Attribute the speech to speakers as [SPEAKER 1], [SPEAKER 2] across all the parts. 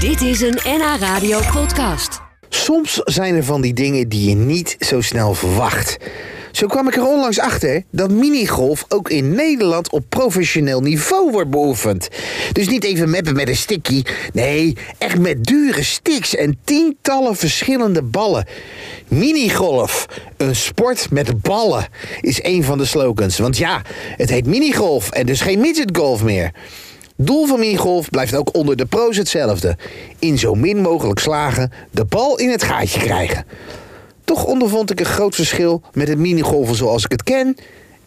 [SPEAKER 1] Dit is een NH Radio podcast.
[SPEAKER 2] Soms zijn er van die dingen die je niet zo snel verwacht. Zo kwam ik er onlangs achter dat minigolf ook in Nederland op professioneel niveau wordt beoefend. Dus niet even meppen met een stickie. Nee, echt met dure sticks en tientallen verschillende ballen. Minigolf, een sport met ballen, is een van de slogans. Want ja, het heet minigolf en dus geen midgetgolf meer. Doel van minigolf blijft ook onder de pro's hetzelfde. In zo min mogelijk slagen de bal in het gaatje krijgen. Toch ondervond ik een groot verschil met het minigolven zoals ik het ken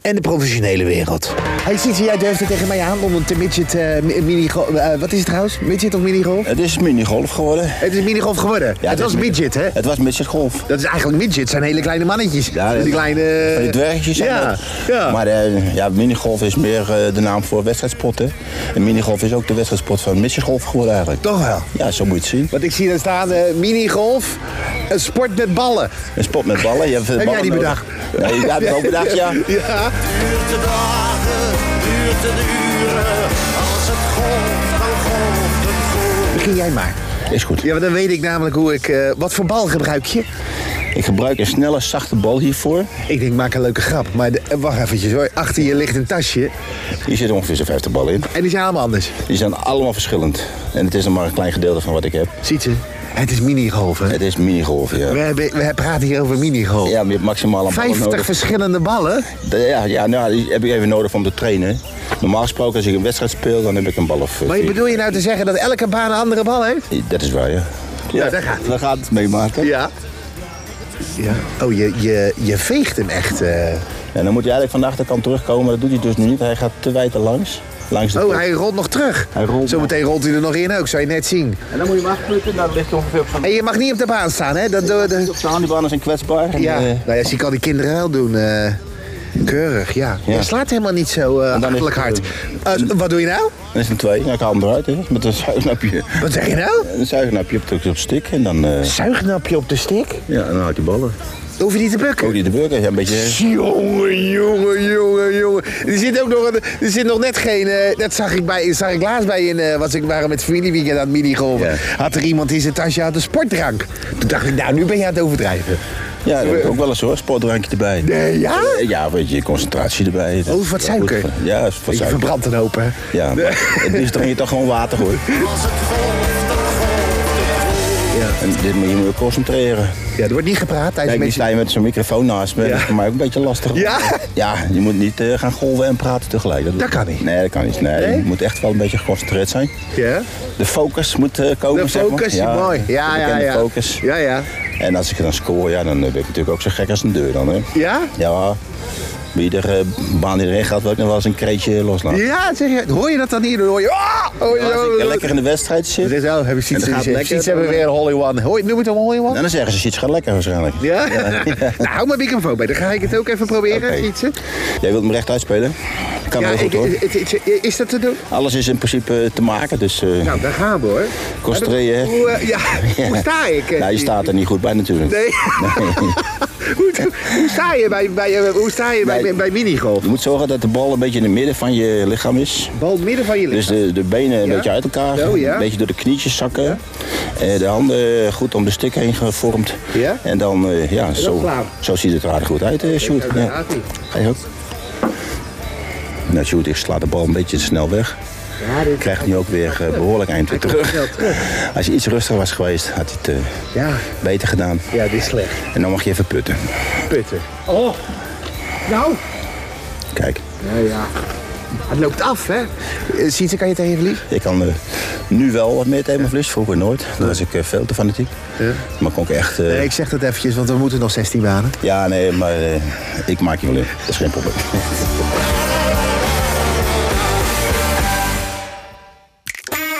[SPEAKER 2] en de professionele wereld. Hey Sietse, jij durfde tegen mij aan om een te midget eh, mi- minigo- eh, wat is het trouwens? Midget of minigolf?
[SPEAKER 3] Het is minigolf geworden.
[SPEAKER 2] Het is minigolf geworden.
[SPEAKER 3] Ja,
[SPEAKER 2] het
[SPEAKER 3] is
[SPEAKER 2] was
[SPEAKER 3] mini-
[SPEAKER 2] midget, hè?
[SPEAKER 3] Het was midgetgolf.
[SPEAKER 2] Dat is eigenlijk midget, zijn hele kleine mannetjes.
[SPEAKER 3] Ja,
[SPEAKER 2] die
[SPEAKER 3] dat-
[SPEAKER 2] kleine...
[SPEAKER 3] Van die dwergjes zijn
[SPEAKER 2] Eh, ja,
[SPEAKER 3] dat.
[SPEAKER 2] ja.
[SPEAKER 3] Maar eh, ja, minigolf is meer eh, de naam voor wedstrijdspotten. En minigolf is ook de wedstrijdspot van midgetgolf geworden eigenlijk.
[SPEAKER 2] Toch wel.
[SPEAKER 3] Ja, zo moet je het zien.
[SPEAKER 2] Want ik zie daar staan eh, minigolf, een sport met ballen.
[SPEAKER 3] Een spot met ballen. Je hebt eh,
[SPEAKER 2] Heb
[SPEAKER 3] ballen
[SPEAKER 2] jij die
[SPEAKER 3] nodig.
[SPEAKER 2] bedacht?
[SPEAKER 3] Nee, ja, heb ik ook bedacht, ja.
[SPEAKER 2] Ja.
[SPEAKER 4] Duurt de dagen, duurt de uren. Als het golft, dan golft het goed.
[SPEAKER 2] Begin jij maar.
[SPEAKER 3] Is goed.
[SPEAKER 2] Ja, maar dan weet ik namelijk hoe ik... eh, wat voor bal gebruik je?
[SPEAKER 3] Ik gebruik een snelle, zachte bal hiervoor.
[SPEAKER 2] Ik denk, maak een leuke grap. Maar de- eh, wacht eventjes hoor. Achter je ligt een tasje.
[SPEAKER 3] Hier zit ongeveer zo'n 50 ballen in.
[SPEAKER 2] En die zijn allemaal anders.
[SPEAKER 3] Die zijn allemaal verschillend. En het is nog maar een klein gedeelte van wat ik heb.
[SPEAKER 2] Ziet ze? Het is minigolven.
[SPEAKER 3] Het is minigolf,
[SPEAKER 2] We,
[SPEAKER 3] ja.
[SPEAKER 2] hebben, we praten hier over minigolf.
[SPEAKER 3] Ja, maar je hebt maximaal een bal
[SPEAKER 2] 50
[SPEAKER 3] nodig.
[SPEAKER 2] verschillende ballen.
[SPEAKER 3] Ja, ja nou, die heb ik even nodig om te trainen. Normaal gesproken, als ik een wedstrijd speel, dan heb ik een bal of eh,
[SPEAKER 2] Maar
[SPEAKER 3] vier.
[SPEAKER 2] bedoel je nou te zeggen dat elke baan een andere bal heeft?
[SPEAKER 3] Dat is waar, ja.
[SPEAKER 2] Ja, daar gaat
[SPEAKER 3] Daar gaat het mee maken.
[SPEAKER 2] Ja. ja. Oh, je, je, je veegt hem echt. eh.
[SPEAKER 3] En dan moet hij eigenlijk van de achterkant terugkomen, maar dat doet hij dus nu niet. Hij gaat te wijd langs. langs de
[SPEAKER 2] Oh,
[SPEAKER 3] top.
[SPEAKER 2] hij rolt nog terug.
[SPEAKER 3] Hij rolt
[SPEAKER 2] Zometeen rolt hij er nog in ook, zou je net zien.
[SPEAKER 3] En dan moet je hem afputten, dan ligt hij ongeveer op zijn...
[SPEAKER 2] En je mag niet op de baan staan, hè? Dat, dat, dat-
[SPEAKER 3] Op zijn handbaan is een kwetsbaar. En,
[SPEAKER 2] ja.
[SPEAKER 3] eh,
[SPEAKER 2] Nou ja, zie ik al die kinderen wel doen. eh, keurig, ja.
[SPEAKER 3] Ja.
[SPEAKER 2] Je slaat helemaal niet zo eh
[SPEAKER 3] En dan is-
[SPEAKER 2] achterlijk hard. Eh, wat doe je nou?
[SPEAKER 3] dan is het een twee. Ja, ik haal hem eruit, hè. Met een zuignapje.
[SPEAKER 2] Wat zeg je nou?
[SPEAKER 3] Een zuignapje op de op stik en dan... eh,
[SPEAKER 2] Zuignapje op de stik?
[SPEAKER 3] ja, en dan houdt hij ballen.
[SPEAKER 2] Hoef je niet te bukken.
[SPEAKER 3] Ook Oh, die de burger, ja, een beetje...
[SPEAKER 2] Jongen, jongen, jongen, jongen. Er zit ook nog, een- er zit nog net geen. eh, dat zag ik, bij, zag ik laatst bij een. eh, was ik waren met familieweekend aan het minigolven.
[SPEAKER 3] Ja.
[SPEAKER 2] Had er iemand in zijn tasje had een sportdrank. Toen dacht ik, nou, nu ben je aan het overdrijven.
[SPEAKER 3] Ja, dat heb ik ook wel eens hoor, sportdrankje erbij.
[SPEAKER 2] Nee, ja?
[SPEAKER 3] Eh, Ja, weet je, concentratie erbij. Dat-
[SPEAKER 2] Oh, wat suiker.
[SPEAKER 3] Ja, dat is wat
[SPEAKER 2] Je
[SPEAKER 3] suiker.
[SPEAKER 2] verbrandt een hoop, hè?
[SPEAKER 3] Ja, maar het liefst drink je toch gewoon water hoor.
[SPEAKER 4] Als het golft, dan golft het goed.
[SPEAKER 3] Ja. En dit moet je moet je concentreren.
[SPEAKER 2] Ja, er wordt niet gepraat tijdens
[SPEAKER 3] Kijk, die sta
[SPEAKER 2] mensen.
[SPEAKER 3] je met zo'n microfoon naast me. Dat is voor mij ook een beetje lastig.
[SPEAKER 2] Ja?
[SPEAKER 3] Ja, je moet niet eh, gaan golven en praten tegelijk.
[SPEAKER 2] Dat kan niet.
[SPEAKER 3] Nee, dat kan niet. Nee,
[SPEAKER 2] Nee?
[SPEAKER 3] Je moet echt wel een beetje geconcentreerd zijn.
[SPEAKER 2] Ja?
[SPEAKER 3] De focus moet eh, komen,
[SPEAKER 2] De
[SPEAKER 3] zeg maar.
[SPEAKER 2] focus, mooi. Ja,
[SPEAKER 3] de
[SPEAKER 2] ja,
[SPEAKER 3] bekende
[SPEAKER 2] ja.
[SPEAKER 3] focus.
[SPEAKER 2] Ja, ja.
[SPEAKER 3] En als ik dan score, ja, dan eh, ben ik natuurlijk ook zo gek als een deur dan, hè.
[SPEAKER 2] Ja?
[SPEAKER 3] Ja, bij iedere eh, baan die erin gaat, wil ik nog wel eens een kreetje loslaten.
[SPEAKER 2] Ja, zeg je, hoor je dat dan hier? Dan hoor je. Ah! Oh,
[SPEAKER 3] Als ik eh, lekker in de wedstrijd zit,
[SPEAKER 2] Zeg zo, heb ik
[SPEAKER 3] En
[SPEAKER 2] zoiets
[SPEAKER 3] dat gaat
[SPEAKER 2] hebben
[SPEAKER 3] lekker,
[SPEAKER 2] we
[SPEAKER 3] dan-
[SPEAKER 2] weer een Holy One. Hoor je, noem het een Holy One?
[SPEAKER 3] en dan zeggen ze, shit, gaat lekker waarschijnlijk.
[SPEAKER 2] Ja? nou, hou maar microfoon bij. Dan ga ik het ook even proberen,
[SPEAKER 3] Oké.
[SPEAKER 2] Sietse.
[SPEAKER 3] Jij wilt me recht uitspelen? Kan
[SPEAKER 2] Ja,
[SPEAKER 3] heel goed,
[SPEAKER 2] ik-
[SPEAKER 3] hoor.
[SPEAKER 2] het- het- het- is dat te doen?
[SPEAKER 3] Alles is in principe eh, te maken, dus... eh,
[SPEAKER 2] Nou, daar gaan we hoor.
[SPEAKER 3] Concentreer je, hè?
[SPEAKER 2] Hoe, eh, ja, hoe sta ik? eh,
[SPEAKER 3] Nou, je staat er niet goed bij natuurlijk.
[SPEAKER 2] Nee. hoe, hoe sta je bij, bij, eh, hoe sta je bij, bij,
[SPEAKER 3] Bij-
[SPEAKER 2] minigolf?
[SPEAKER 3] Je moet zorgen dat de bal een beetje in het midden van je lichaam is.
[SPEAKER 2] Bal midden van je
[SPEAKER 3] Dus
[SPEAKER 2] lichaam.
[SPEAKER 3] de, de benen een
[SPEAKER 2] Ja.
[SPEAKER 3] beetje uit elkaar,
[SPEAKER 2] Zo, ja.
[SPEAKER 3] een beetje door de knietjes zakken. Eh, de handen goed om de stik heen gevormd.
[SPEAKER 2] Ja.
[SPEAKER 3] En dan, eh, ja, zo,
[SPEAKER 2] slaan.
[SPEAKER 3] zo ziet het er aardig goed uit, eh Sjoerd.
[SPEAKER 2] Ja,
[SPEAKER 3] Ja.
[SPEAKER 2] gaat-ie.
[SPEAKER 3] Ga je ook? Nou, Sjoerd, ik sla de bal een beetje te snel weg.
[SPEAKER 2] Ja, dit-
[SPEAKER 3] Krijgt nu ook weer eh, behoorlijk eind weer
[SPEAKER 2] Hij komt
[SPEAKER 3] terug.
[SPEAKER 2] snel terug.
[SPEAKER 3] Als je iets rustiger was geweest, had hij het eh,
[SPEAKER 2] Ja.
[SPEAKER 3] beter gedaan.
[SPEAKER 2] ja, dit is slecht.
[SPEAKER 3] En dan mag je even putten.
[SPEAKER 2] Putten. Oh. Nou.
[SPEAKER 3] Kijk,
[SPEAKER 2] Ja, ja. Het loopt af, hè? Eh, Sietse, kan je tegen verlies?
[SPEAKER 3] Ik kan eh, nu wel wat meer tegen mijn vlies, vroeger nooit. Dan was ik eh, veel te fanatiek.
[SPEAKER 2] Ja.
[SPEAKER 3] Maar kon ik echt... eh,
[SPEAKER 2] Nee, ik zeg dat eventjes, want we moeten nog 16 banen.
[SPEAKER 3] Ja, nee, maar eh, ik maak je wel in. Dat is geen probleem.